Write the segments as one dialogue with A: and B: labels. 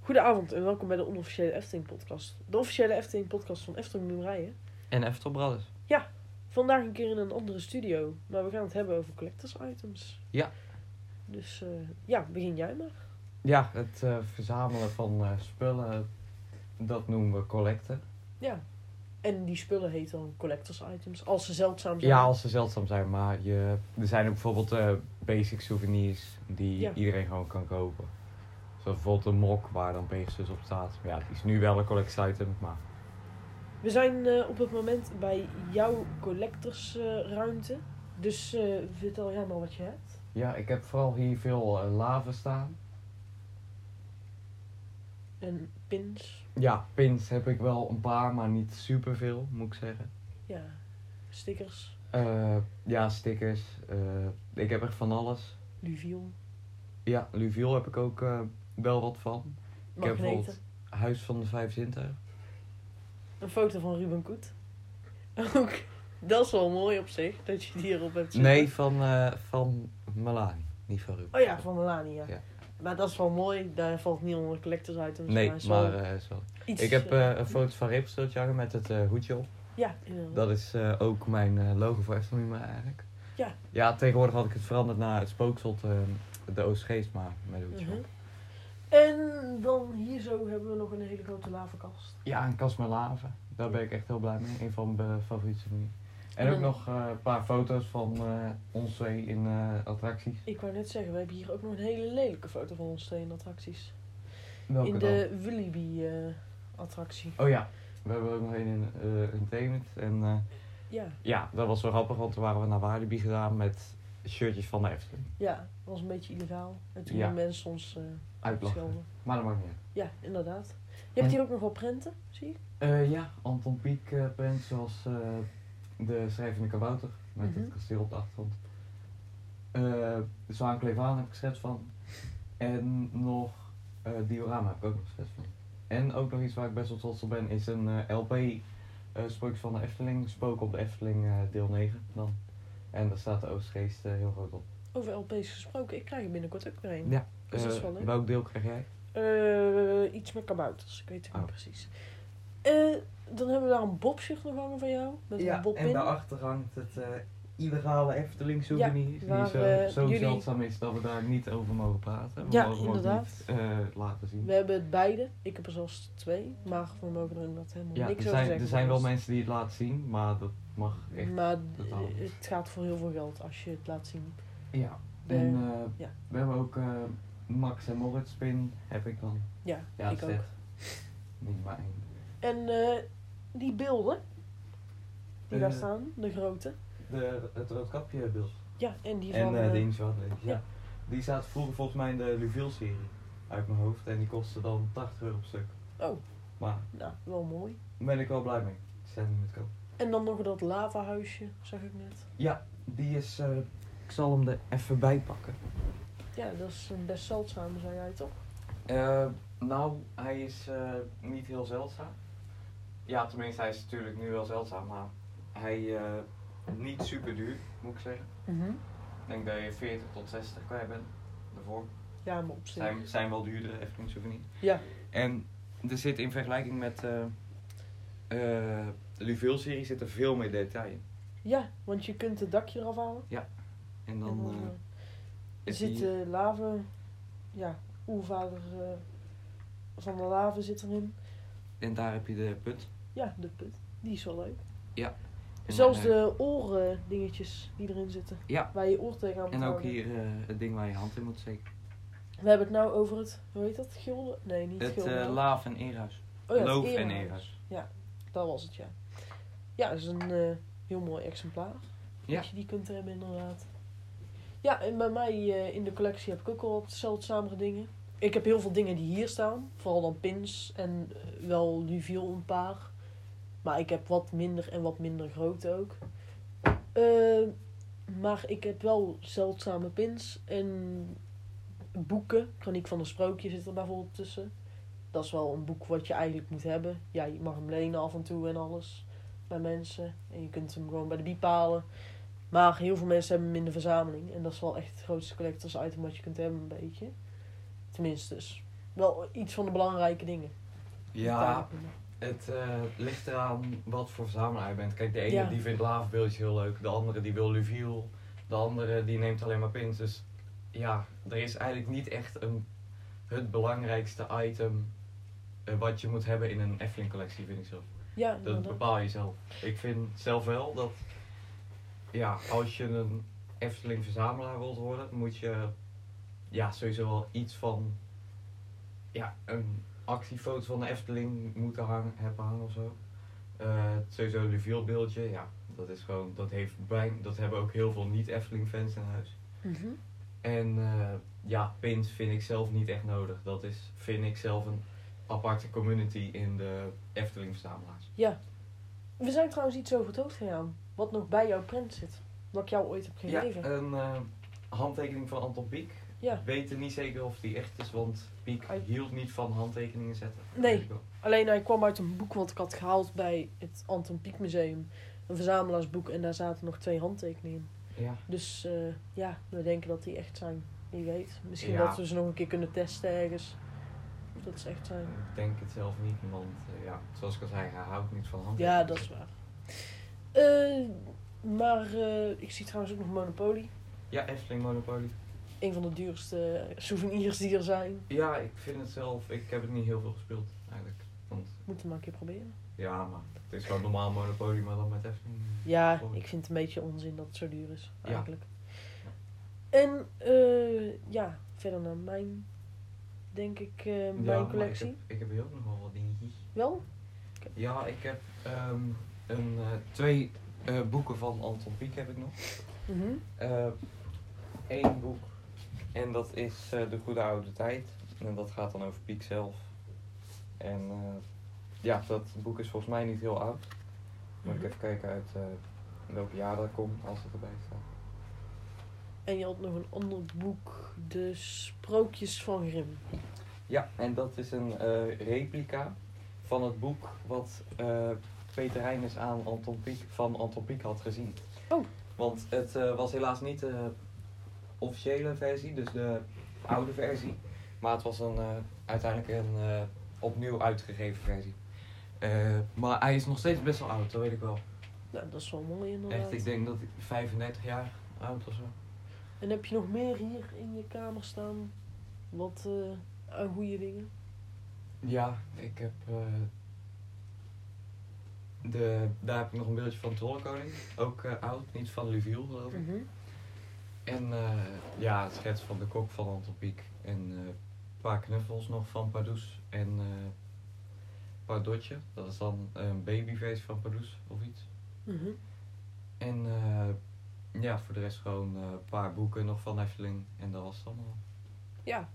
A: Goedenavond en welkom bij de onofficiële Efteling podcast. De officiële Efteling podcast van Efteling Bloemerijen.
B: En Eftel Brothers.
A: Vandaag een keer in een andere studio, maar we gaan het hebben over collectors items.
B: Ja.
A: Dus eh, ja, begin jij maar.
B: Ja, het eh, verzamelen van eh, spullen, dat noemen we collecten.
A: Ja. En die spullen heten dan collectors items, als ze zeldzaam zijn.
B: Ja, als ze zeldzaam zijn, maar je, er zijn ook bijvoorbeeld eh, basic souvenirs die
A: Ja.
B: iedereen gewoon kan kopen. Zoals bijvoorbeeld een mok waar dan Pegasus op staat. Ja, die is nu wel een collect item, maar
A: We zijn eh, op het moment bij jouw collectorsruimte. dus eh, vertel jij maar wat je hebt.
B: ja, ik heb vooral hier veel eh, laven staan.
A: En pins.
B: Ja, pins heb ik wel een paar, maar niet superveel, moet ik zeggen.
A: Ja. Stickers.
B: Eh, ja, stickers. eh, ik heb echt van alles.
A: Luviel.
B: Ja, Luviel heb ik ook eh, wel wat van. Ik heb
A: Magneten.
B: bijvoorbeeld Huis van de Vijf Zintuigen.
A: Een foto van Ruben Koet. Ook. Dat is wel mooi op zich, dat je die erop hebt zitten.
B: Nee, van, eh, van Melanie, niet van Ruben.
A: Oh ja, van Melania.
B: Ja.
A: Maar dat is wel mooi, daar valt niet onder collectors items.
B: Nee,
A: is wel
B: maar eh, zo.
A: iets,
B: Ik heb
A: eh,
B: eh, een foto van Ripstrootje hangen met het eh, hoedje op.
A: ja, inderdaad.
B: Dat is eh, ook mijn eh, logo voor Efteling maar eigenlijk.
A: Ja.
B: Ja, tegenwoordig had ik het veranderd naar het spooksel, eh, de Oostgeest, maar met een hoedje
A: Mhm.
B: op.
A: En dan hier zo hebben we nog een hele grote lavenkast.
B: Ja, een kast met laven. Daar ben ik echt heel blij mee. Een van mijn eh, favoriete souvenirs.
A: En
B: En ook
A: dan-
B: nog eh, een paar foto's van eh, ons twee in eh, attracties.
A: Ik wou net zeggen, we hebben hier ook nog een hele lelijke foto van ons twee in attracties.
B: Welke
A: in
B: dan?
A: de Willyby eh, attractie.
B: Oh ja, we hebben ook nog een in eh Entertainment. En eh,
A: Ja,
B: ja, dat was wel grappig, want toen waren we naar Walibi gedaan met shirtjes van de Efteling.
A: ja, dat was een beetje illegaal. En toen
B: Ja.
A: gingen mensen ons eh,
B: Uitlachen.
A: schelden.
B: Maar dat maakt niet uit.
A: Ja, inderdaad.
B: Hm.
A: Je hebt hier ook nog wel prenten, zie ik.
B: Eh, ja, Anton Pieck eh print zoals eh, de schrijvende kabouter met het
A: Mhm.
B: kasteel op de achtergrond. Eh, Zwaan Klevaan heb ik schets van. En nog eh, Diorama heb ik ook nog schets van. En ook nog iets waar ik best wel trots op ben is een eh, LP eh Spook van de Efteling, Spook op de Efteling eh, deel 9 dan. En daar staat de Oostgeest eh, heel groot op.
A: Over LP's gesproken, ik krijg er binnenkort ook weer een.
B: Ja.
A: Dus dat is wel
B: Eh,
A: leuk.
B: welk deel krijg jij?
A: Eh, iets met kabouters, ik weet het
B: Oh.
A: niet precies. Eh, dan hebben we daar een bobshirt nog hangen van jou. Met een bob in.
B: daarachter hangt het eh, illegale Efteling
A: souvenir,
B: souvenir.
A: waar,
B: die zo,
A: eh,
B: zo
A: jullie-
B: zeldzaam is dat we daar niet over mogen praten. We
A: Ja,
B: mogen hem ook
A: inderdaad.
B: niet, eh, laten zien.
A: We hebben het beide. Ik heb er zelfs twee. Maar we mogen er inderdaad helemaal
B: ja, er
A: niks over
B: zijn,
A: zeggen.
B: er zijn wel
A: dus-
B: mensen die het laten zien, maar dat mag echt.
A: Maar
B: totaal
A: eh,
B: niet.
A: het gaat voor heel veel geld als je het laat zien.
B: Ja.
A: De-
B: En eh,
A: ja.
B: we hebben ook eh, Max en Moritz pin, heb ik dan.
A: ja,
B: Ja,
A: ik
B: dat
A: ook.
B: is echt Niet mijn.
A: En eh, die beelden die daar
B: Eh.
A: staan, de grote.
B: De, het roodkapje beeld.
A: Ja, en die
B: En
A: van...
B: eh
A: eh,
B: de Inchwadden, ja.
A: ja.
B: Die staat vroeger volgens mij in de Luville-serie uit mijn hoofd. En die kostte dan 80 euro per stuk.
A: Oh.
B: Maar
A: nou, wel mooi.
B: ben ik wel blij mee. Die zijn niet met koop.
A: En dan nog dat lavahuisje, zag ik net.
B: Ja, die is... eh, ik zal hem er even bij pakken.
A: Ja, dat is een best zeldzame, zei jij toch?
B: Eh, nou, hij is eh, niet heel zeldzaam. Ja, tenminste, hij is natuurlijk nu wel zeldzaam, maar hij eh, niet super duur, moet ik zeggen. Ik denk dat je 40 tot 60 kwijt bent daarvoor.
A: Ja, maar op zich.
B: Zijn, zijn wel duurdere Efteling souvenirs.
A: Ja.
B: En er zit in vergelijking met eh eh, de Luville-serie zit er veel meer detail in.
A: Ja, want je kunt het dakje eraf halen.
B: En
A: En
B: dan
A: dan
B: eh,
A: eh,
B: is
A: zit
B: die-
A: de lave, ja, oervader eh, van de lave zit erin.
B: En daar heb je de put.
A: Ja, de put. Die is wel leuk.
B: En,
A: Zelfs
B: eh,
A: de oren dingetjes die erin zitten.
B: Ja.
A: Waar je oor tegenaan moet
B: En ook
A: houden.
B: hier eh, het ding waar je hand in moet steken.
A: We hebben het nou over het, hoe heet dat? Gilde? Nee, niet
B: Het
A: gilde.
B: eh, laaf en eerhuis.
A: oh ja, het
B: Loof en
A: erehuis.
B: eerhuis.
A: Dat was het, ja. Ja, dat is een eh, heel mooi exemplaar.
B: Ja.
A: Dat je die kunt hebben, inderdaad. Ja, en bij mij eh, in de collectie heb ik ook al wat zeldzamere dingen. Ik heb heel veel dingen die hier staan. Vooral dan pins en eh, wel Luviel een paar. Maar ik heb wat minder en wat minder groot ook. Eh, maar ik heb wel zeldzame pins en boeken. Chroniek van een sprookje zit er bijvoorbeeld tussen. Dat is wel een boek wat je eigenlijk moet hebben. Ja, je mag hem lenen af en toe en alles bij mensen. En je kunt hem gewoon bij de biep halen. Maar heel veel mensen hebben hem in de verzameling. En dat is wel echt het grootste collectors item wat je kunt hebben een beetje. Tenminste dus. wel iets van de belangrijke dingen.
B: Ja, het eh, ligt eraan wat voor verzamelaar je bent. Kijk, de ene
A: Ja.
B: die vindt laafbeeldjes heel leuk, de andere die wil Luviel, de andere die neemt alleen maar pins. Dus ja, er is eigenlijk niet echt een, het belangrijkste item eh, wat je moet hebben in een Efteling collectie, vind ik zelf.
A: Ja,
B: Dat
A: inderdaad.
B: bepaal je zelf. Ik vind zelf wel dat ja, als je een Efteling verzamelaar wilt worden, moet je ja, sowieso wel iets van ja, een actiefoto van de Efteling moeten hangen, hebben hangen of zo. Eh, sowieso een reveal beeldje, ja, dat is gewoon, dat heeft bijna, dat hebben ook heel veel niet-Efteling fans in huis.
A: Mhm.
B: En eh, ja, pins vind ik zelf niet echt nodig. Dat is, vind ik zelf een aparte community in de Efteling verzamelaars.
A: We zijn trouwens iets over het hoofd gegaan. Wat nog bij jouw print zit. Wat ik jou ooit heb
B: Ja,
A: gegeven.
B: een eh, handtekening van Anton Pieck.
A: Ja.
B: Weten niet zeker of die echt is, want Pieck
A: Hij-
B: hield niet van handtekeningen zetten.
A: Nee.
B: Weet ik wel.
A: Alleen hij kwam uit een boek wat ik had gehaald bij het Anton Pieck Museum. Een verzamelaarsboek en daar zaten nog twee handtekeningen in.
B: Ja.
A: Dus eh, ja, we denken dat die echt zijn. Wie weet. Misschien
B: Ja.
A: dat we ze nog een keer kunnen testen ergens. Of dat ze echt zijn.
B: Ik denk het zelf niet, want eh, ja, zoals ik al zei, hij houdt niet van handtekeningen.
A: Ja, dat is waar. Eh, maar eh, ik zie trouwens ook nog Monopoly.
B: Ja, Efteling Monopoly.
A: Een van de duurste eh, souvenirs die er zijn.
B: Ja, ik vind het zelf, ik heb het niet heel veel gespeeld eigenlijk. Want
A: Moeten we maar een keer proberen.
B: ja, maar het is gewoon normaal Monopoly, maar dan met Efteling.
A: Ja,
B: Mooi.
A: ik vind het een beetje onzin dat het zo duur is,
B: Ja.
A: eigenlijk. En eh, ja, verder naar mijn, denk ik, eh,
B: Ja, maar
A: mijn
B: ik
A: collectie.
B: heb- Ik heb hier ook nog wel wat dingetjes.
A: Wel?
B: Ja, ik heb ehm, een, eh, twee eh, boeken van Anton Pieck heb ik nog.
A: Mhm.
B: eh één boek. En dat is eh, De Goede Oude Tijd. En dat gaat dan over Piek zelf. En eh, ja, dat boek is volgens mij niet heel oud. Moet ik
A: Mhm.
B: even kijken uit eh, welk jaar dat komt, als het erbij staat.
A: En je had nog een ander boek, De Sprookjes van Grimm.
B: Ja, en dat is een eh, replica van het boek wat eh, Peter Heijnes aan Anton Pieck, van Anton Pieck had gezien.
A: Oh.
B: Want het eh, was helaas niet de officiële versie, dus de oude versie. Maar het was een, eh, uiteindelijk een eh, opnieuw uitgegeven versie. Eh, maar hij is nog steeds best wel oud, dat weet ik wel.
A: Nou, dat is wel mooi inderdaad.
B: Echt, ik denk dat ik 35 jaar oud of zo.
A: En heb je nog meer hier in je kamer staan? Wat eh, aan goede dingen?
B: Ja, ik heb. eh, de, daar heb ik nog een beeldje van Trollenkoning. Ook eh, oud, niet van Luviel geloof ik.
A: Mhm.
B: En eh, ja, het schets van de kok van Anton Pieck. En eh, een paar knuffels nog van Pardoes. En eh Pardotje, dat is dan een babyface van Pardoes of iets.
A: Mhm.
B: En eh, ja, voor de rest gewoon eh, een paar boeken nog van Efteling. En dat was het allemaal.
A: Ja.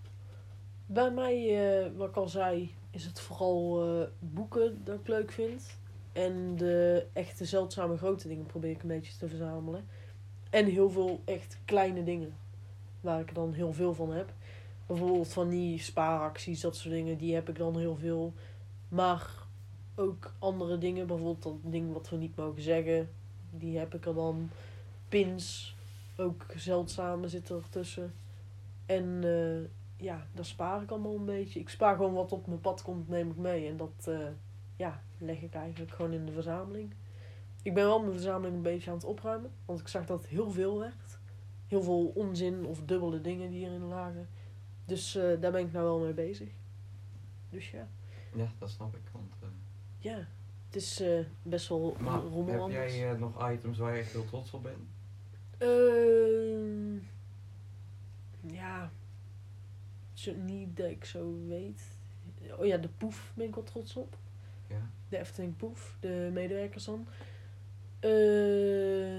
A: Bij mij, eh, wat ik al zei, is het vooral eh, boeken dat ik leuk vind. En de echte zeldzame grote dingen probeer ik een beetje te verzamelen. En heel veel echt kleine dingen. Waar ik er dan heel veel van heb. Bijvoorbeeld van die spaaracties, dat soort dingen. Die heb ik dan heel veel. Maar ook andere dingen. Bijvoorbeeld dat ding wat we niet mogen zeggen. Die heb ik er dan. Pins. Ook zeldzame zitten er tussen. En eh, ja, daar spaar ik allemaal een beetje. Ik spaar gewoon wat op mijn pad komt, neem ik mee. En dat eh, ja, leg ik eigenlijk gewoon in de verzameling. Ik ben wel mijn verzameling een beetje aan het opruimen. Want ik zag dat het heel veel werd. Heel veel onzin of dubbele dingen die hierin lagen. Dus eh, daar ben ik nou wel mee bezig. Dus ja,
B: Ja, dat snap ik. Want, eh,
A: ja. het is eh, best wel
B: maar
A: rommel
B: heb
A: anders.
B: jij eh, nog items waar je echt heel trots op bent?
A: Ehm ja. Zo, niet dat ik zo weet. Oh ja, de poef ben ik wel trots op.
B: Ja.
A: De Efteling poef, de medewerkers dan. Eh,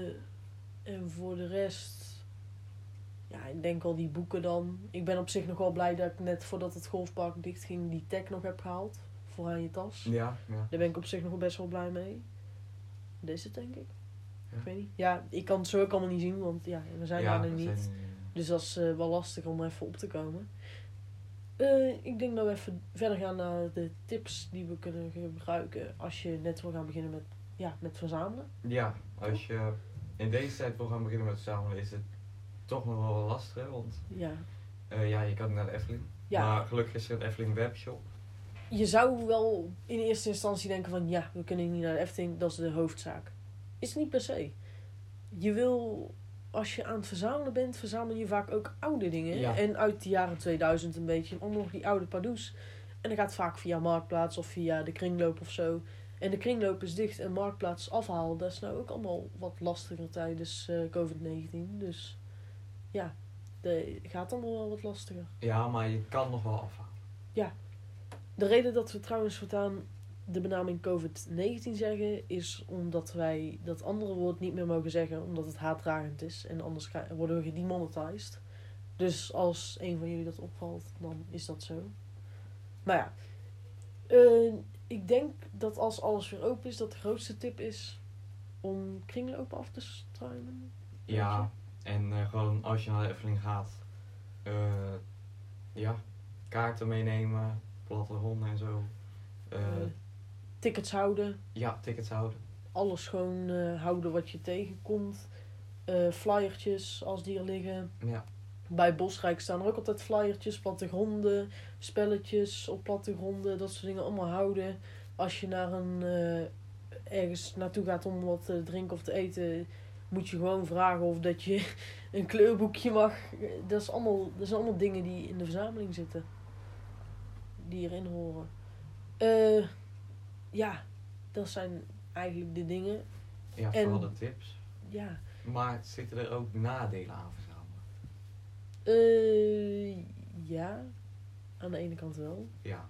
A: en voor de rest... Ja, ik denk al die boeken dan. Ik ben op zich nog wel blij dat ik net voordat het golfpark dichtging... die tag nog heb gehaald. Voor aan je tas.
B: Ja, ja.
A: Daar ben ik op zich nog wel best wel blij mee. Dit is het, denk ik.
B: Ja.
A: Ik weet niet. Ja, ik kan het zo ook allemaal niet zien, want ja, we zijn daar nog
B: dat
A: niet.
B: zijn, eh,
A: Dus dat is eh, wel lastig om even op te komen. Eh, ik denk dat we even verder gaan naar de tips die we kunnen gebruiken als je net wil gaan beginnen met, ja, met verzamelen.
B: Ja, als je in deze tijd wil gaan beginnen met verzamelen, is het toch nog wel wat lastiger. Want
A: Ja,
B: eh, ja, je kan naar de Efteling.
A: Ja,
B: Maar gelukkig is er een Efteling webshop.
A: je zou wel in eerste instantie denken van ja, we kunnen niet naar de Efteling, dat is de hoofdzaak. Is niet per se. Je wil, als je aan het verzamelen bent, verzamel je vaak ook oude dingen.
B: Ja.
A: En uit de jaren 2000 een beetje, en allemaal nog die oude Pardoes. En dan gaat het vaak via Marktplaats of via de kringloop of zo. En de kringloop is dicht en Marktplaats afhalen, dat is nou ook allemaal wat lastiger tijdens eh, COVID-19. Dus ja, dat gaat allemaal wel wat lastiger.
B: Ja, maar je kan nog wel afhalen.
A: De reden dat we trouwens voortaan de benaming COVID-19 zeggen, is omdat wij dat andere woord niet meer mogen zeggen, omdat het haatdragend is en anders ga- worden we gedemonetized. Dus als een van jullie dat opvalt, dan is dat zo. Maar ja, eh, ik denk dat als alles weer open is, dat de grootste tip is om kringlopen af te struimen.
B: Ja, en eh, gewoon als je naar de Efteling gaat, eh, ja, kaarten meenemen, platte honden en zo. Eh,
A: Eh, tickets houden.
B: ja, tickets houden.
A: alles gewoon eh, houden wat je tegenkomt. Eh, flyertjes als die er liggen.
B: Ja.
A: Bij Bosrijk staan er ook altijd flyertjes, plattegronden, spelletjes op plattegronden, dat soort dingen allemaal houden. Als je naar een, eh, ergens naartoe gaat om wat te drinken of te eten, moet je gewoon vragen of dat je een kleurboekje mag. Eh, Dat, is allemaal, dat zijn allemaal dingen die in de verzameling zitten, die erin horen. Eh, ja, dat zijn eigenlijk de dingen.
B: Ja,
A: En-
B: vooral de tips.
A: Ja.
B: Maar zitten er ook nadelen aan verzamelen?
A: Eh, ja, aan de ene kant wel.
B: Ja.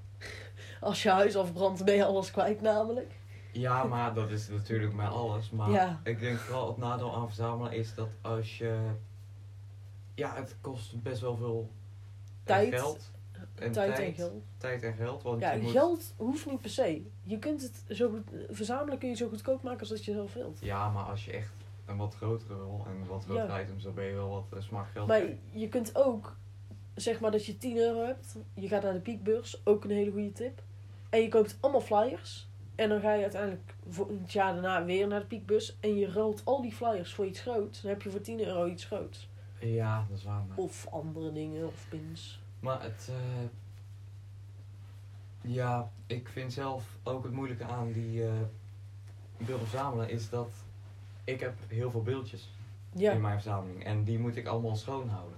A: Als je huis afbrandt, ben je alles kwijt, namelijk.
B: Ja, maar dat is natuurlijk met alles. Maar
A: Ja.
B: ik denk vooral het nadeel aan verzamelen is dat als je... Ja, het kost best wel veel eh,
A: Tijd.
B: geld.
A: tijd, en geld.
B: Tijd en geld, want
A: Ja,
B: je moet...
A: geld hoeft niet per se. Je kunt het zo goed, verzamelen kun je zo goedkoop maken als dat je zelf wilt.
B: Ja, maar als je echt een wat grotere wil en wat grotere items, dan ben je wel wat eh, smaak geld.
A: Maar je kunt ook, zeg maar dat je 10 euro hebt, je gaat naar de piekbeurs, ook een hele goede tip. En je koopt allemaal flyers. En dan ga je uiteindelijk voor een jaar daarna weer naar de piekbeurs. En je ruilt al die flyers voor iets groots. Dan heb je voor 10 euro iets groots.
B: Ja, dat is waar. Maar,
A: Of andere dingen, of pins.
B: maar het... eh, Ja, ik vind zelf ook het moeilijke aan die eh beelden verzamelen is dat ik heb heel veel beeldjes.
A: Ja.
B: in mijn verzameling. En die moet ik allemaal schoonhouden.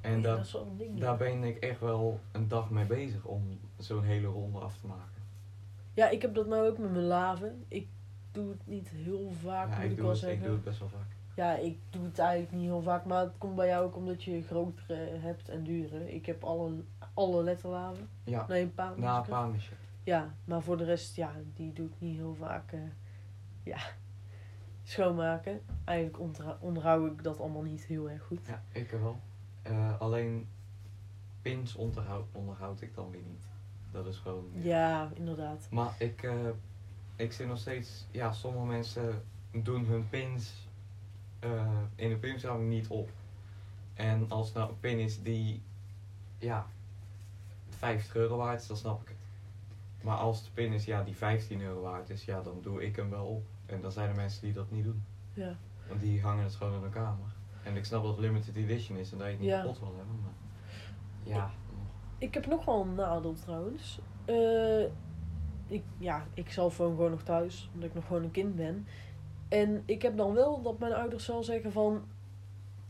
B: En
A: Ja,
B: dat,
A: is wel een ding.
B: daar ben ik echt wel een dag mee bezig om zo'n hele ronde af te maken.
A: Ja, ik heb dat nou ook met mijn laven. Ik doe het niet heel vaak,
B: Ja,
A: moet ik,
B: ik, doe
A: wel
B: het, ik
A: zeggen.
B: doe het best wel vaak.
A: Ja, ik doe het eigenlijk niet heel vaak, maar het komt bij jou ook omdat je grotere hebt en duurdere. Ik heb alle, alle letterlaven.
B: Ja,
A: Nee, een paar.
B: na een
A: misschien.
B: paar misjes.
A: Ja, maar voor de rest, ja, die doe ik niet heel vaak. eh, ja, schoonmaken. Eigenlijk ontra- onderhoud ik dat allemaal niet heel erg goed.
B: Ja, ik wel. Eh, alleen pins onderhoud, onderhoud ik dan weer niet. Dat is gewoon...
A: Ja, inderdaad.
B: Maar ik, eh, ik zit nog steeds... Ja, sommige mensen doen hun pins eh, in de pinverzameling niet op. En als het nou een pin is die... Ja, 50 euro waard is, dan snap ik het. Maar als de pin is ja, die 15 euro waard is, ja, dan doe ik hem wel op. En dan zijn er mensen die dat niet doen.
A: Ja.
B: Want die hangen het gewoon in hun kamer. En ik snap dat het limited edition is en dat je het niet
A: Ja.
B: kapot wil hebben, maar... Ja,
A: Ik heb nog wel een nadeel trouwens. Eh, ik, ja, ik zelf woon gewoon nog thuis, omdat ik nog gewoon een kind ben. En ik heb dan wel dat mijn ouders wel zeggen van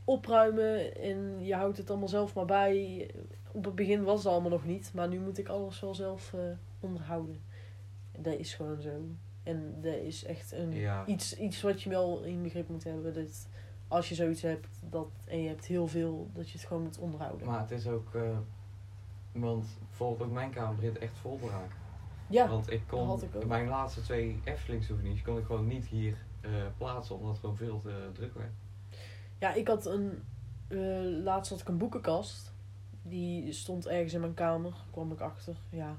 A: opruimen en je houdt het allemaal zelf maar bij. Op het begin was dat allemaal nog niet, maar nu moet ik alles wel zelf eh, onderhouden. Dat is gewoon zo. En dat is echt een,
B: ja,
A: iets, iets wat je wel in begrip moet hebben. Dat als je zoiets hebt dat, en je hebt heel veel, dat je het gewoon moet onderhouden.
B: Maar het is ook, eh, want bijvoorbeeld ook mijn kamer begint echt vol te raken.
A: ja.
B: want ik kon,
A: had ik ook.
B: mijn laatste twee Efteling souvenirs kon ik gewoon niet hier eh, plaatsen, omdat het gewoon veel te druk werd.
A: Ja, ik had een. eh, laatst had ik een boekenkast. Die stond ergens in mijn kamer. Kwam ik achter. Ja,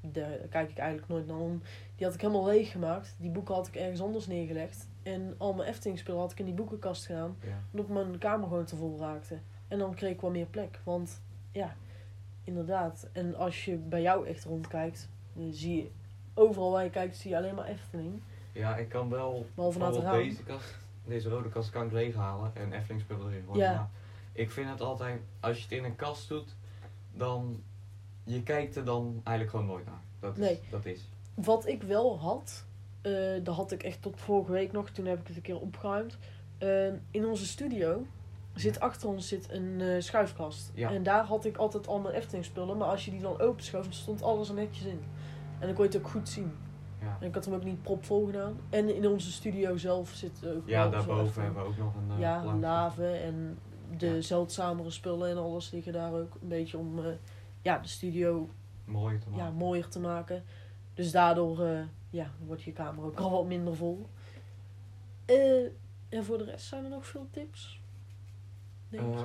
A: daar kijk ik eigenlijk nooit naar om. Die had ik helemaal leeg gemaakt. Die boeken had ik ergens anders neergelegd. En al mijn Eftelingspullen had ik in die boekenkast gedaan.
B: Ja.
A: Omdat mijn kamer gewoon te vol raakte. En dan kreeg ik wel meer plek. Want ja, inderdaad. En als je bij jou echt rondkijkt, dan zie je overal waar je kijkt, zie je alleen maar Efteling.
B: ja, ik kan wel
A: Behalve naar het
B: bijvoorbeeld
A: raam.
B: deze kast, deze rode kast kan ik leeghalen en Efteling spullen erin gooien.
A: Ja.
B: Maar ik vind het altijd, als je het in een kast doet, dan je kijkt er dan eigenlijk gewoon nooit naar. Dat is.
A: Nee.
B: Dat is.
A: Wat ik wel had, eh, dat had ik echt tot vorige week nog, toen heb ik het een keer opgeruimd. Eh, in onze studio zit achter ons zit een eh, schuifkast.
B: Ja.
A: En daar had ik altijd al mijn Efteling spullen, maar als je die dan openschoof, stond alles er netjes in. En dan kon je het ook goed zien.
B: Ja.
A: En ik had hem ook niet propvol gedaan. En in onze studio zelf zit ook wel
B: Ja,
A: zo'n
B: daarboven
A: Efteling.
B: hebben we ook nog een eh,
A: ja,
B: plaatje.
A: laven en de
B: Ja.
A: zeldzamere spullen en alles liggen daar ook. Een beetje om eh, ja, de studio
B: Mooi te
A: ja,
B: maken.
A: mooier te maken. Dus daardoor eh, ja, wordt je kamer ook al wat minder vol. Eh, en voor de rest zijn er nog veel tips. Denk
B: Eh,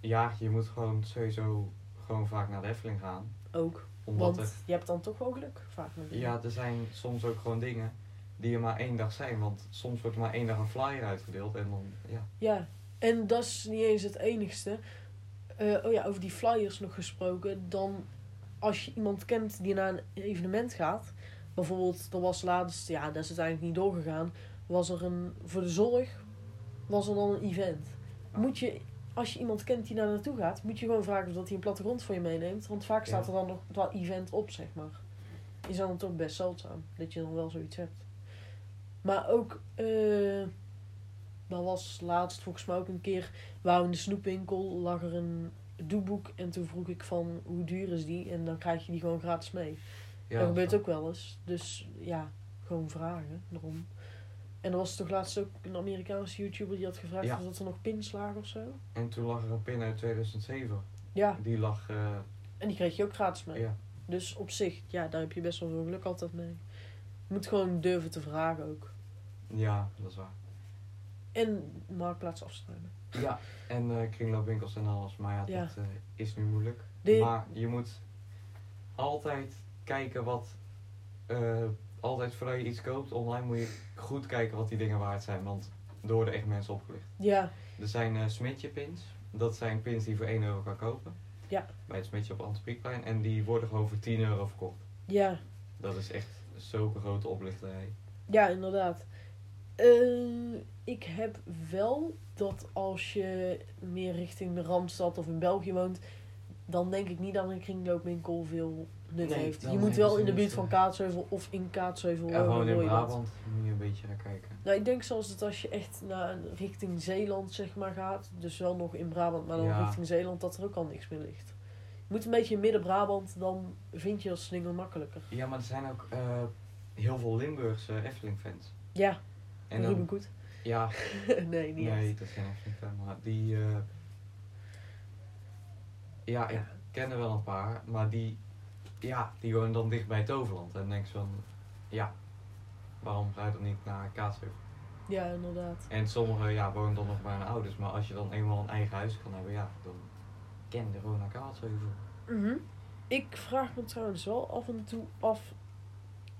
A: je?
B: ja, je moet gewoon sowieso gewoon vaak naar de Efteling gaan.
A: Ook.
B: Omdat
A: Want
B: er,
A: je hebt dan toch wel geluk vaak met dingen.
B: ja, er zijn soms ook gewoon dingen die er maar één dag zijn. Want soms wordt er maar één dag een flyer uitgedeeld en dan, ja.
A: Ja, en dat is niet eens het enigste. Eh, oh ja, over die flyers nog gesproken. Dan als je iemand kent die naar een evenement gaat. Bijvoorbeeld, er was laatst, ja, dat is uiteindelijk niet doorgegaan. Was er een, voor de zorg, was er dan een event. Moet je, als je iemand kent die daar naartoe gaat, moet je gewoon vragen of dat hij een plattegrond voor je meeneemt. Want vaak staat
B: Ja.
A: er dan nog dat event op, zeg maar. Is dan toch best zeldzaam dat je dan wel zoiets hebt. Maar ook, eh dat was laatst volgens mij ook een keer, waar in de snoepwinkel lag er een doeboek en toen vroeg ik van hoe duur is die en dan krijg je die gewoon gratis mee.
B: ja
A: dat gebeurt ook wel eens. Dus ja, gewoon vragen erom. En er was toch laatst ook een Amerikaanse YouTuber die had gevraagd
B: Ja.
A: of dat er nog pins lagen of zo.
B: En toen lag er een pin uit 2007.
A: Ja,
B: Die lag, eh,
A: en die kreeg je ook gratis mee.
B: ja.
A: Dus op zich, ja, daar heb je best wel veel geluk altijd mee. Je moet gewoon durven te vragen ook.
B: ja, dat is waar.
A: En marktplaats afsluiten.
B: Ja, en eh kringloopwinkels en alles. Maar ja,
A: Ja.
B: dat eh, is nu moeilijk.
A: De-
B: Maar je moet altijd kijken wat... eh, altijd voordat je iets koopt online moet je goed kijken wat die dingen waard zijn. Want er worden echt mensen opgelicht.
A: Ja,
B: Er zijn eh smetje pins. Dat zijn pins die je voor 1 euro kan kopen.
A: Ja.
B: Bij het smetje op Antipriekplein. En die worden gewoon voor 10 euro verkocht.
A: ja.
B: Dat is echt zulke grote oplichterij.
A: Ja, inderdaad. Eh, ik heb wel dat als je meer richting de Randstad of in België woont, dan denk ik niet dat een kringloopwinkel veel nut
B: Nee,
A: heeft.
B: dan
A: Je moet
B: hebben
A: wel
B: ze
A: in de
B: niet,
A: buurt
B: eh,
A: van Kaatsheuvel of in Kaatsheuvel
B: Ja, gewoon in
A: hoor je dat.
B: Brabant moet je een beetje naar kijken.
A: Nou, ik denk zelfs dat als je echt naar een- richting Zeeland zeg maar gaat, dus wel nog in Brabant, maar dan
B: Ja.
A: richting Zeeland, dat er ook al niks meer ligt. Je moet een beetje in midden-Brabant, dan vind je dat slinger makkelijker.
B: Ja, maar er zijn ook eh, heel veel Limburgse Efteling-fans.
A: Ja,
B: En
A: Ruben
B: dan,
A: Goed.
B: ja,
A: nee, niet
B: nee,
A: echt.
B: dat zijn echt geen fan, maar die... eh, ja, ik
A: Ja.
B: ken er wel een paar, maar die, ja, die wonen dan dicht bij Toverland. En denk van, ja, waarom ga je dan niet naar Kaatsheuvel?
A: Ja, inderdaad.
B: En sommigen, ja, wonen dan nog bij hun ouders, maar als je dan eenmaal een eigen huis kan hebben, ja, dan ken je gewoon naar Kaatsheuvel.
A: Mhm. Ik vraag me trouwens wel af en toe af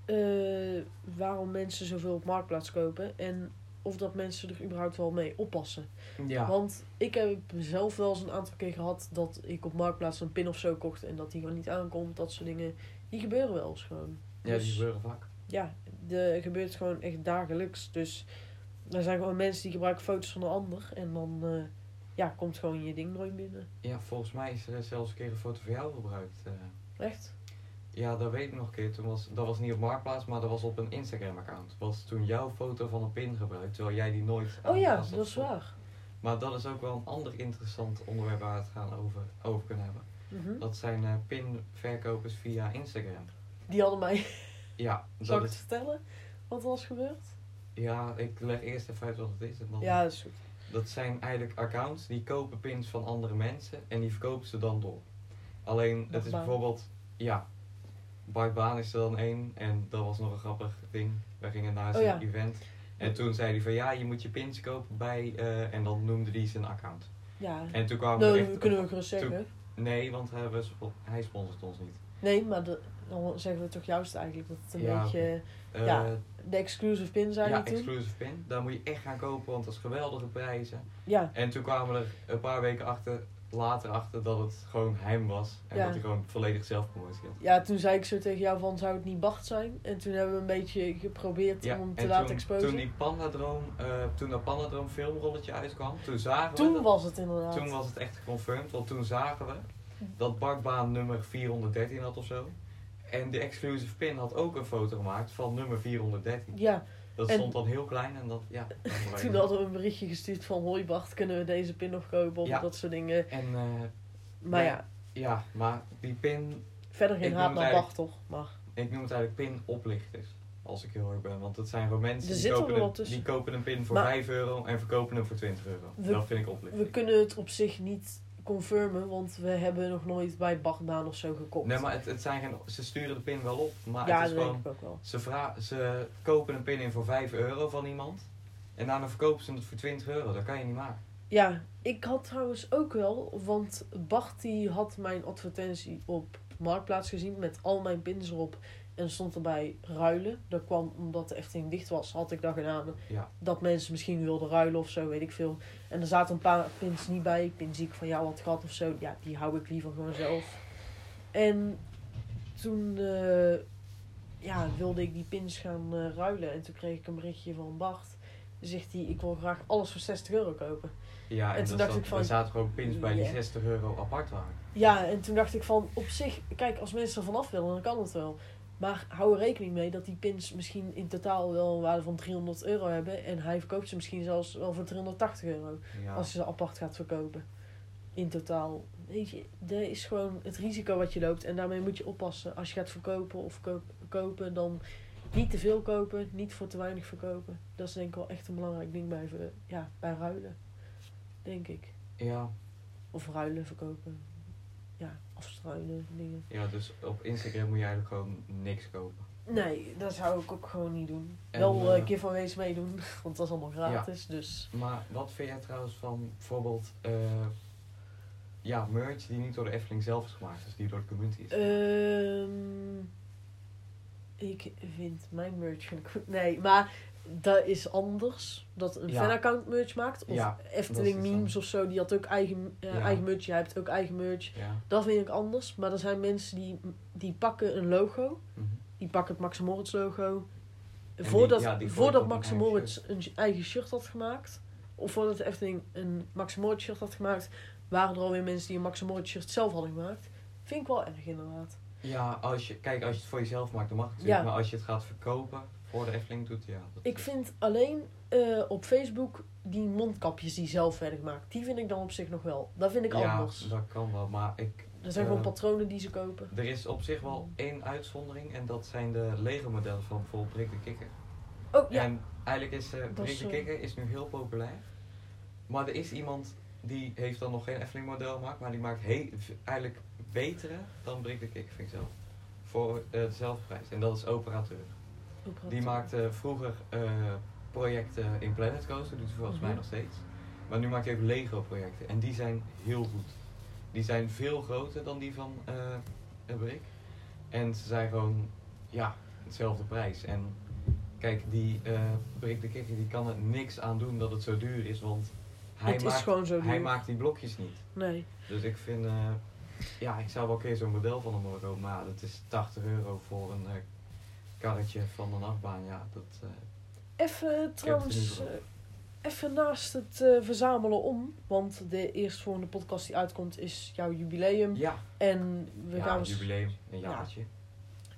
A: eh, waarom mensen zoveel op marktplaats kopen en of dat mensen er überhaupt wel mee oppassen.
B: Ja,
A: Want ik heb zelf wel eens een aantal keer gehad dat ik op marktplaats een pin of zo kocht en dat die gewoon niet aankomt. Dat soort dingen. Die gebeuren wel eens gewoon.
B: ja die
A: dus-
B: gebeuren vaak.
A: Ja, de gebeurt gewoon echt dagelijks. Dus er zijn gewoon mensen die gebruiken foto's van een ander en dan eh, ja, komt gewoon je ding nooit binnen.
B: Ja, volgens mij is er zelfs een keer een foto van jou gebruikt. eh.
A: Echt?
B: Ja, dat weet ik nog een keer. Toen was, dat was niet op Marktplaats, maar dat was op een Instagram-account. Was toen jouw foto van een pin gebruikt, terwijl jij die nooit
A: Oh ja,
B: aangepast had.
A: dat is waar.
B: Maar dat is ook wel een ander interessant onderwerp waar we het gaan over, over kunnen hebben.
A: Mhm.
B: Dat zijn eh, pinverkopers via Instagram.
A: Die hadden mij
B: Ja,
A: Zal
B: dat
A: ik het
B: is,
A: vertellen wat er was gebeurd?
B: ja, ik leg eerst even uit wat het is. En dan,
A: Ja, dat is goed.
B: Dat zijn eigenlijk accounts die kopen pins van andere mensen en die verkopen ze dan door. Alleen het is
A: Baan.
B: bijvoorbeeld, ja, Bart Baan is er dan één en dat was nog een grappig ding. Wij gingen naar
A: Oh
B: zijn
A: ja.
B: event en toen zei hij van ja, je moet je pins kopen bij eh, en dan noemde hij zijn account.
A: Ja.
B: En toen kwamen
A: Nou,
B: we
A: dat
B: echt
A: kunnen we gerust
B: toen-
A: zeggen.
B: Nee, want hij, was, hij sponsort ons niet.
A: Nee, maar de- dan zeggen we toch juist eigenlijk dat het een
B: Ja,
A: beetje
B: Eh,
A: Ja, de exclusive pin zijn
B: ja,
A: die toen.
B: exclusive pin. Daar moet je echt gaan kopen, want dat is geweldige prijzen.
A: Ja,
B: En toen kwamen we er een paar weken achter, later achter dat het gewoon hem was. En
A: Ja.
B: dat hij gewoon volledig zelfpromotie had.
A: ja, toen zei ik zo tegen jou van zou het niet Bart zijn? En toen hebben we een beetje geprobeerd
B: Ja,
A: om hem te
B: en
A: laten
B: toen,
A: exposen.
B: Toen, die pandadroom, eh, toen dat Pandadroom filmrolletje uitkwam, toen zagen we...
A: Toen
B: dat-
A: was het inderdaad.
B: toen was het echt geconfirmed, want toen zagen we dat bakbaan nummer 413 had of zo. En de exclusive pin had ook een foto gemaakt van nummer 413.
A: Ja,
B: Dat
A: En-
B: stond dan heel klein en dat, ja. dat was
A: toen
B: wel-
A: hadden we een berichtje gestuurd van... Hoi Bart, kunnen we deze pin nog kopen? Of
B: Ja.
A: dat soort dingen.
B: En eh,
A: Maar
B: Nee.
A: ja,
B: ja, maar die pin,
A: verder geen
B: Ik
A: haat
B: noem het
A: naar Bart,
B: eigenlijk-
A: toch? Maar
B: ik noem het eigenlijk pinoplichters. Als ik heel erg ben, want dat zijn gewoon mensen
A: Er
B: die
A: zit er
B: kopen,
A: wel
B: een,
A: tussen.
B: die kopen een pin voor
A: Maar-
B: 5 euro en verkopen hem voor 20 euro.
A: We-
B: dat vind ik
A: we
B: oplichting.
A: kunnen het op zich niet confirmen... want we hebben nog nooit bij Bart Daan of zo gekocht.
B: Nee, maar het, het zijn geen, ze sturen de pin wel op, maar
A: ja, dat
B: het is
A: denk
B: gewoon
A: ik ook wel.
B: Ze, vra- ze kopen een pin in voor 5 euro van iemand. En daarna verkopen ze het voor 20 euro. Dat kan je niet maken.
A: Ja, ik had trouwens ook wel, want Bart die had mijn advertentie op Marktplaats gezien met al mijn pins erop. En stond erbij ruilen. Dat kwam omdat de echt dicht was, had ik dat gedaan.
B: Ja.
A: Dat mensen misschien wilden ruilen of zo, weet ik veel. En er zaten een paar pins niet bij. Pins die ik van jou had gehad of zo. Ja, die hou ik liever gewoon zelf. En toen eh, ja, wilde ik die pins gaan eh, ruilen. En toen kreeg ik een berichtje van Bart. Zegt hij, ik wil graag alles voor 60 euro kopen.
B: Ja,
A: En
B: en,
A: toen
B: er
A: dacht
B: zat-
A: ik van-
B: er zaten gewoon pins bij die
A: Ja.
B: 60 euro apart waren.
A: Ja, en toen dacht ik van op zich, kijk, als mensen er vanaf willen, dan kan het wel. Maar hou er rekening mee dat die pins misschien in totaal wel een waarde van 300 euro hebben. En hij verkoopt ze misschien zelfs wel voor 380 euro.
B: Ja.
A: Als je ze apart gaat verkopen. In totaal. Weet je, dat is gewoon het risico wat je loopt. En daarmee moet je oppassen. Als je gaat verkopen of ko- kopen, dan niet te veel kopen. Niet voor te weinig verkopen. Dat is denk ik wel echt een belangrijk ding bij, ver- ja, bij ruilen. Denk ik.
B: Ja.
A: Of ruilen, verkopen. Ja, afstruinen, dingen.
B: ja, dus op Instagram moet je eigenlijk gewoon niks kopen.
A: Nee, dat zou ik ook gewoon niet doen.
B: En,
A: Wel
B: eh,
A: eh giveaways meedoen, want dat is allemaal gratis. Dus
B: Maar wat vind jij trouwens van bijvoorbeeld eh, ja, merch die niet door de Efteling zelf is gemaakt, dus die door de community is?
A: Ehm, ik vind mijn merch vind ik goed. Nee, maar dat is anders. Dat een
B: Ja.
A: fanaccount merch maakt. Of
B: Ja,
A: Efteling
B: dat is iets
A: memes of zo. Die had ook eigen, eh,
B: Ja.
A: eigen merch. Jij hebt ook eigen merch.
B: ja.
A: Dat vind ik anders. Maar er zijn mensen die, die pakken een logo.
B: Mhm.
A: Die pakken het Max en Moritz logo.
B: die-
A: voordat
B: ja, die
A: voordat
B: gooit dan
A: Max en
B: een eigen
A: Moritz een j- eigen shirt had gemaakt. Of voordat de Efteling een Max en Moritz shirt had gemaakt. Waren er alweer mensen die een Max en Moritz shirt zelf hadden gemaakt. Vind ik wel erg inderdaad.
B: ja, als je, kijk, als je het voor jezelf maakt, dan mag het natuurlijk.
A: Ja.
B: Maar als je het gaat verkopen voor de Efteling, doet ja. dat-
A: Ik vind alleen eh, op Facebook die mondkapjes die zelf werden gemaakt. Die vind ik dan op zich nog wel. Dat vind ik
B: ja,
A: anders.
B: dat kan wel, maar ik
A: Er zijn gewoon
B: eh,
A: patronen die ze kopen.
B: Er is op zich wel één uitzondering en dat zijn de Lego-modellen van bijvoorbeeld Rick de Kikker.
A: Oh ja,
B: En eigenlijk is eh
A: Dat
B: Rick
A: is
B: de
A: zo.
B: Kikker is nu heel populair. Maar er is iemand die heeft dan nog geen Efteling-model gemaakt, maar die maakt he- v- eigenlijk betere dan Rick de Kikker, vind ik zelf. Voor eh, dezelfde prijs. En dat is Operateur.
A: operator.
B: Die maakte vroeger eh, projecten in Planet Coaster, doet hij volgens mij
A: Mhm.
B: nog steeds. Maar nu maakt hij ook Lego projecten en die zijn heel goed. Die zijn veel groter dan die van eh eh, Brick. En ze zijn gewoon, ja, hetzelfde prijs. En kijk, die eh Brick de Kikker die kan er niks aan doen dat het zo duur is, want hij,
A: Het is
B: maakt,
A: gewoon zo
B: hij
A: duur.
B: maakt die blokjes niet.
A: Nee.
B: Dus ik vind, eh, ja, ik zou wel een keer zo'n model van hem willen kopen, maar ja, dat is 80 euro voor een eh, karretje van een achtbaan. Ja, dat, eh,
A: Even eh, trouwens,
B: niet op.
A: eh, even naast het eh, verzamelen om. Want de eerstvolgende podcast die uitkomt is jouw jubileum.
B: ja,
A: En we,
B: ja
A: gaan,
B: een
A: waars-
B: jubileum, een
A: Mm. Ja.
B: jaartje.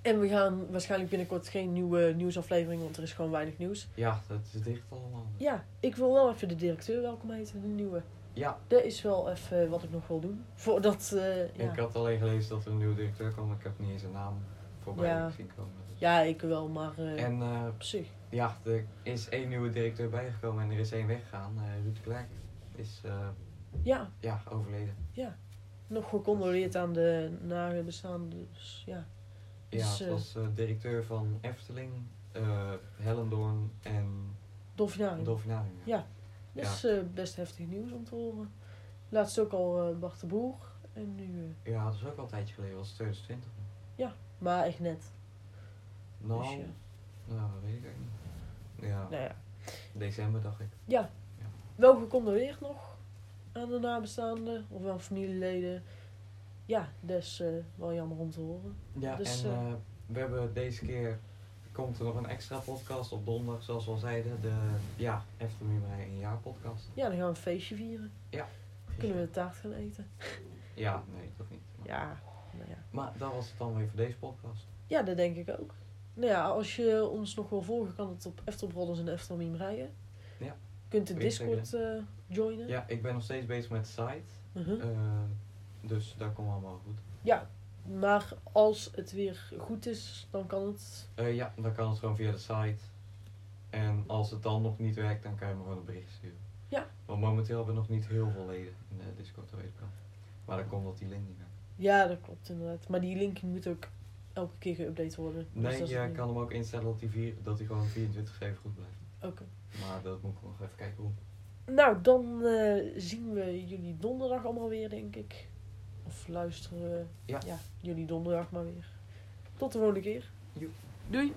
A: en we gaan waarschijnlijk binnenkort geen nieuwe nieuwsaflevering, want er is gewoon weinig nieuws.
B: Ja, dat is dicht allemaal.
A: Ja, ik wil wel even de directeur welkom heten, de nieuwe.
B: Ja,
A: Dat is wel even wat ik nog wil doen. Voordat, eh ja.
B: ik had alleen gelezen dat er een nieuwe directeur kwam, maar ik heb niet eens een naam voorbij
A: Ja.
B: zien komen. Dus-
A: ja, ik wel, maar eh,
B: En eh,
A: op zich.
B: ja, er is één nieuwe directeur bijgekomen en er is één weggegaan. Eh Ruud Klerk is eh,
A: Ja,
B: ja, overleden.
A: nog gecondoleerd aan de nabestaanden. Dus ja,
B: Ja,
A: Dus,
B: het
A: eh,
B: was eh, directeur van Efteling, eh Hellendoorn en
A: dolfinarium.
B: Dolfinarium.
A: Oh, Ja. Dat is eh, best heftig nieuws om te horen. Laatst ook al eh Bart de Boer. En nu... eh,
B: Ja, dat is ook al een tijdje geleden, dat was 2020.
A: maar echt net.
B: Nou,
A: Dus ja.
B: nou, dat weet ik eigenlijk niet. Ja,
A: Nou ja.
B: december dacht ik.
A: Wel gecondoleerd nog aan de nabestaanden. Of aan familieleden. Ja, dat is eh, wel jammer om te horen.
B: Ja,
A: Dus,
B: en
A: eh,
B: eh, we hebben deze keer, komt er nog een extra podcast op donderdag, zoals we al zeiden. De, ja, Efteling bij een jaar podcast.
A: Ja, dan gaan we een feestje vieren.
B: Ja.
A: Kunnen we taart gaan eten.
B: Ja, nee, toch niet.
A: Ja, nou ja.
B: Maar dat was het dan weer voor deze podcast.
A: ja, dat denk ik ook. Nou ja, als je ons nog wil volgen, kan het op Eftel Brothers en Eftel Meme rijden.
B: Ja.
A: Je kunt de
B: Op
A: Discord eh, joinen.
B: Ja, ik ben nog steeds bezig met de site.
A: Mhm.
B: eh, dus daar komt allemaal goed.
A: Ja, maar als het weer goed is, dan kan het.
B: Eh, ja, dan kan het gewoon via de site. En als het dan nog niet werkt, dan kan je me gewoon een bericht sturen.
A: Ja.
B: Want momenteel hebben we nog niet heel veel leden in de Discord, dat weet ik wel. Maar dan komt dat die link niet meer.
A: Ja, dat klopt inderdaad. Maar die link moet ook elke keer geüpdate worden. Dus dat
B: Nee,
A: is
B: je
A: het niet.
B: kan hem ook instellen dat hij, vier, dat hij gewoon 24-7 goed blijft.
A: Oké.
B: Maar dat moet ik nog even kijken hoe.
A: Nou, dan eh, zien we jullie donderdag allemaal weer, denk ik. Of luisteren we
B: Ja.
A: jullie donderdag maar weer. Tot de volgende keer.
B: Joep.
A: Doei!